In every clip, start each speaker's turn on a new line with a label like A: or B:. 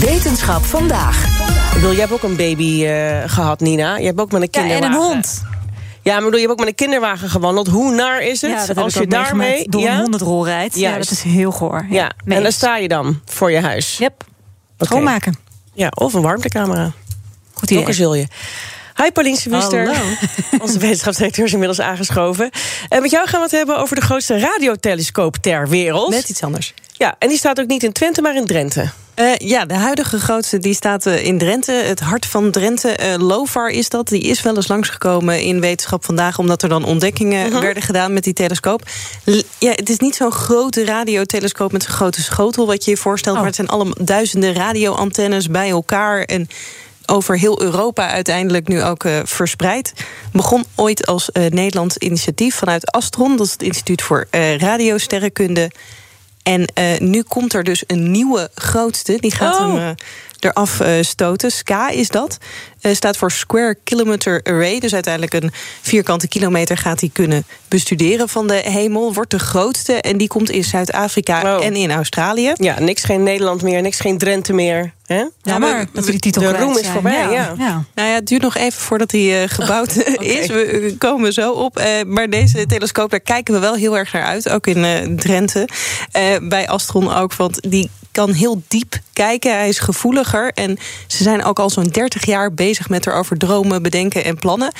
A: Wetenschap vandaag.
B: Ik bedoel, jij hebt ook een baby eh, gehad, Nina. Je hebt ook met een
A: Ja, en
B: kinderwagen.
A: een hond.
B: Ja, maar ik bedoel, je hebt ook met een kinderwagen gewandeld. Hoe naar is het
A: Ja, dat heb
B: als
A: ik
B: je
A: ook meegemaakt.
B: daarmee...
A: door
B: ja?
A: een hondendrol rijdt? Ja,
B: Juist.
A: dat is heel goor.
B: ja. en
A: mee
B: daar
A: eens.
B: sta je dan voor je huis.
A: Yep.
B: Oké.
A: Schoonmaken.
B: Ja, of een warmtecamera.
A: Goed idee.
B: Ook een zul je. Hi Pauline Sewester.
A: Hallo.
B: Onze wetenschapsdirecteur is inmiddels aangeschoven. En met jou gaan we het hebben over de grootste radiotelescoop ter wereld.
C: Net iets anders.
B: Ja, en die staat ook niet in Twente, maar in Drenthe.
C: Eh, ja, de huidige grootste die staat eh, in Drenthe. Het hart van Drenthe. eh LOFAR is dat. Die is wel eens langsgekomen in Wetenschap Vandaag... omdat er dan ontdekkingen werden gedaan met die telescoop. L- ja, het is niet zo'n grote radiotelescoop met zo'n grote schotel... wat je je voorstelt, maar het zijn allemaal duizenden radioantennes bij elkaar... En over heel Europa uiteindelijk nu ook eh, verspreid. Begon ooit als eh, Nederlands initiatief vanuit Astron. Dat is het Instituut voor eh, Radiosterrenkunde. En eh, nu komt er dus een nieuwe grootste. Die gaat
B: Oh.
C: hem eh, eraf eh, stoten. SKA is dat. Eh, staat voor Square Kilometer Array. Dus uiteindelijk een vierkante kilometer gaat hij kunnen bestuderen van de hemel. Wordt de grootste en die komt in Zuid-Afrika
B: Wow.
C: en in Australië.
B: Ja, niks geen Nederland meer, niks geen Drenthe meer. Hè?
A: Ja,
C: maar
A: maar dat we die titel
B: de
A: kwijt
B: roem is
A: zijn.
B: voorbij, ja.
A: Ja. ja.
C: Nou ja, het duurt nog even voordat hij eh, gebouwd is. We eh, komen zo op. Eh, maar deze telescoop, daar kijken we wel heel erg naar uit. Ook in eh, Drenthe. Eh, bij Astron ook, want die kan heel diep kijken. Hij is gevoeliger. En ze zijn ook al zo'n 30 jaar bezig met erover dromen, bedenken en plannen.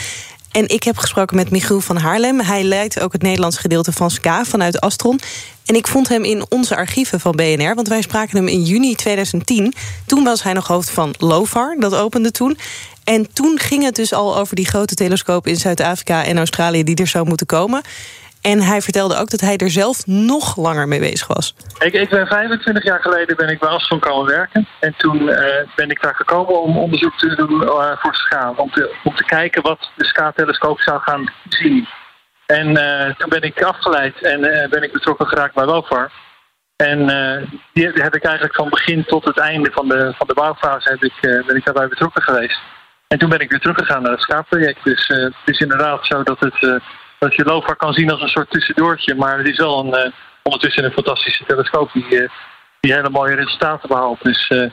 C: En ik heb gesproken met Michiel van Haarlem. Hij leidt ook het Nederlands gedeelte van SKA vanuit Astron. En ik vond hem in onze archieven van BNR, want wij spraken hem in juni 2010. Toen was hij nog hoofd van LOFAR, dat opende toen. En toen ging het dus al over die grote telescoop in Zuid-Afrika en Australië die er zou moeten komen. En hij vertelde ook dat hij er zelf nog langer mee bezig was.
D: Ik, ik ben 25 jaar geleden ben ik bij Astron komen werken. En toen eh, ben ik daar gekomen om onderzoek te doen eh, voor SCA. Om te, om te kijken wat de SCA-telescoop zou gaan zien. En eh, toen ben ik afgeleid en eh, ben ik betrokken geraakt bij Welfar. En eh, die heb ik eigenlijk van begin tot het einde van de, van de bouwfase heb ik, eh, ben ik daarbij betrokken geweest. En toen ben ik weer teruggegaan naar het SCA-project. Dus eh, het is inderdaad zo dat, het, eh, dat je Welfar kan zien als een soort tussendoortje. Maar het is wel een... eh, ondertussen een fantastische telescoop die, eh, die hele mooie resultaten behaalt. Dus eh,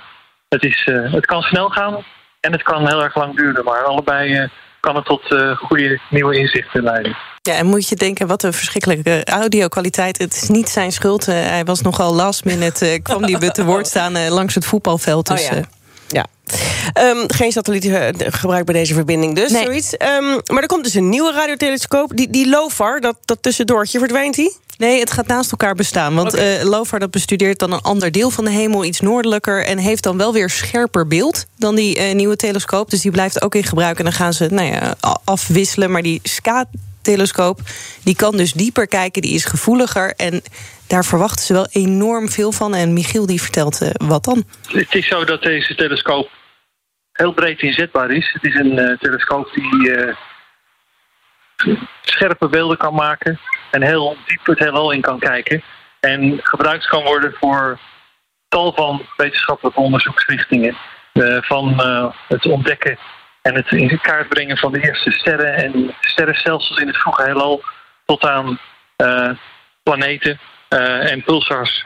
D: het, is, eh, het kan snel gaan en het kan heel erg lang duren. Maar allebei eh, kan het tot eh, goede nieuwe inzichten leiden.
C: Ja, en moet je denken, wat een verschrikkelijke audio-kwaliteit. Het is niet zijn schuld. eh, hij was nogal last minute. eh, kwam die te woord staan eh, langs het voetbalveld. Dus,
B: Oh ja.
C: eh,
B: Ja. Ehm, geen satelliet eh, gebruikt bij deze verbinding dus,
C: Nee.
B: zoiets. Ehm, maar er komt dus een nieuwe radiotelescoop. Die, die LOFAR, dat, dat tussendoortje, verdwijnt die?
C: Nee, het gaat naast elkaar bestaan. Want eh LOFAR dat bestudeert dan een ander deel van de hemel, iets noordelijker. En heeft dan wel weer scherper beeld dan die eh, nieuwe telescoop. Dus die blijft ook in gebruik. En dan gaan ze nou ja, a- afwisselen. Maar die SCA-telescoop die kan dus dieper kijken, die is gevoeliger. En daar verwachten ze wel enorm veel van. En Michiel die vertelt eh, wat dan.
D: Het is zo dat deze telescoop heel breed inzetbaar is. Het is een eh, telescoop die eh, scherpe beelden kan maken en heel diep het heelal in kan kijken. En gebruikt kan worden voor tal van wetenschappelijke onderzoeksrichtingen. Eh, van eh, het ontdekken en het in kaart brengen van de eerste sterren en sterrenstelsels in het vroege heelal tot aan eh, planeten eh, en pulsars.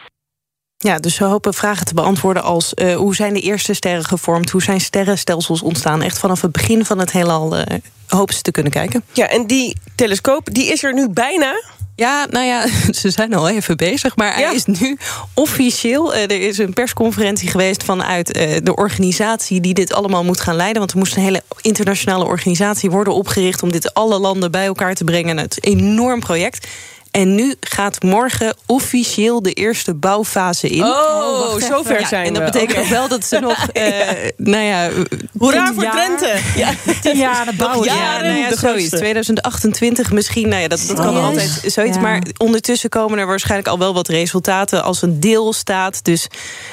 C: Ja, dus ze hopen vragen te beantwoorden als eh, hoe zijn de eerste sterren gevormd? Hoe zijn sterrenstelsels ontstaan? Echt vanaf het begin van het heelal eh, hopen ze te kunnen kijken.
B: Ja, en die telescoop, die is er nu bijna.
C: Ja, nou ja, ze zijn al even bezig. Maar
B: Ja.
C: hij is nu officieel. eh, Er is een persconferentie geweest vanuit eh, de organisatie die dit allemaal moet gaan leiden. Want er moest een hele internationale organisatie worden opgericht om dit alle landen bij elkaar te brengen. Het is een enorm project. En nu gaat morgen officieel de eerste bouwfase in.
D: Oh,
E: wacht
D: zo
E: even.
D: ver
E: Ja,
D: zijn
C: en dat
D: we.
C: betekent ook wel dat ze nog, eh, nou ja,
D: Hoera
E: Tien
D: voor
E: jaar.
D: Drenthe! Ja.
E: Tien jaar de bouw is
D: Ja,
E: aan.
C: Ja, nou ja,
D: de
C: zoiets.
D: grootste.
C: 2028 misschien. Nou ja, dat, dat kan
E: Serieus?
C: altijd zoiets.
E: Ja.
C: Maar ondertussen komen er waarschijnlijk al wel wat resultaten als een deel staat. Dus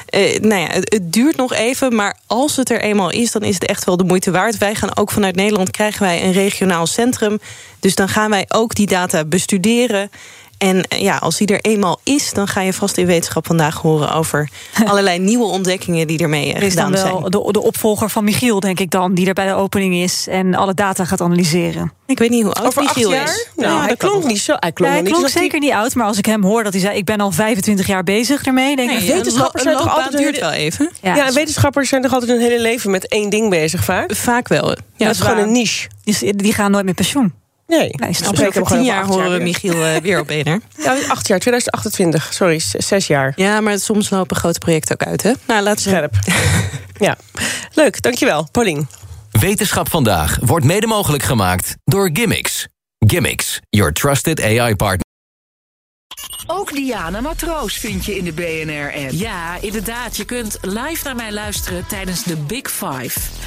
C: eh, nou ja, het, het duurt nog even. Maar als het er eenmaal is, dan is het echt wel de moeite waard. Wij gaan ook vanuit Nederland krijgen wij een regionaal centrum. Dus dan gaan wij ook die data bestuderen. En eh, ja, als die er eenmaal is, dan ga je vast in wetenschap vandaag horen over allerlei nieuwe ontdekkingen die ermee eh,
E: Er is dan
C: gedaan zijn.
E: wel de, de opvolger van Michiel, denk ik dan, die er bij de opening is en alle data gaat analyseren.
C: Ik weet niet hoe oud
D: Over acht
C: Michiel
D: jaar?
C: is.
D: Nou, hij klonk niet zo. Hij klonk,
E: hij
D: nog
E: klonk
D: niet zo-
E: zeker niet oud, maar als ik hem hoor dat hij zei: Ik ben al 25 jaar bezig ermee, denk ik.
D: Nee, wetenschappers
C: een
D: zijn toch
C: loopbaan
D: altijd
C: duurt
D: heel-
C: wel even.
E: Ja,
D: Ja, en wetenschappers zijn toch altijd hun hele leven met één ding bezig vaak?
C: Vaak wel. Ja,
D: dat is gewoon
E: waar.
D: een niche.
E: dus die gaan nooit met pensioen.
D: Nee,
E: Nee,
D: We
E: snap
D: spreken
E: ik.
D: hem
C: Over
D: gewoon
C: tien
D: over
C: jaar
D: acht
C: horen we
D: weer.
C: Michiel eh, weer op BNR.
D: Ja, Nou, acht jaar, 2028. Sorry, z- zes jaar.
C: Ja, maar soms lopen grote projecten ook uit, hè? Nou, laten we
D: Scherp. ja, leuk. Dankjewel, Paulien.
F: Wetenschap vandaag wordt mede mogelijk gemaakt door Gimmicks. Gimmicks, your trusted AI partner.
G: Ook Diana Matroos vind je in de BNR-app. Ja, inderdaad. Je kunt live naar mij luisteren tijdens de Big Five.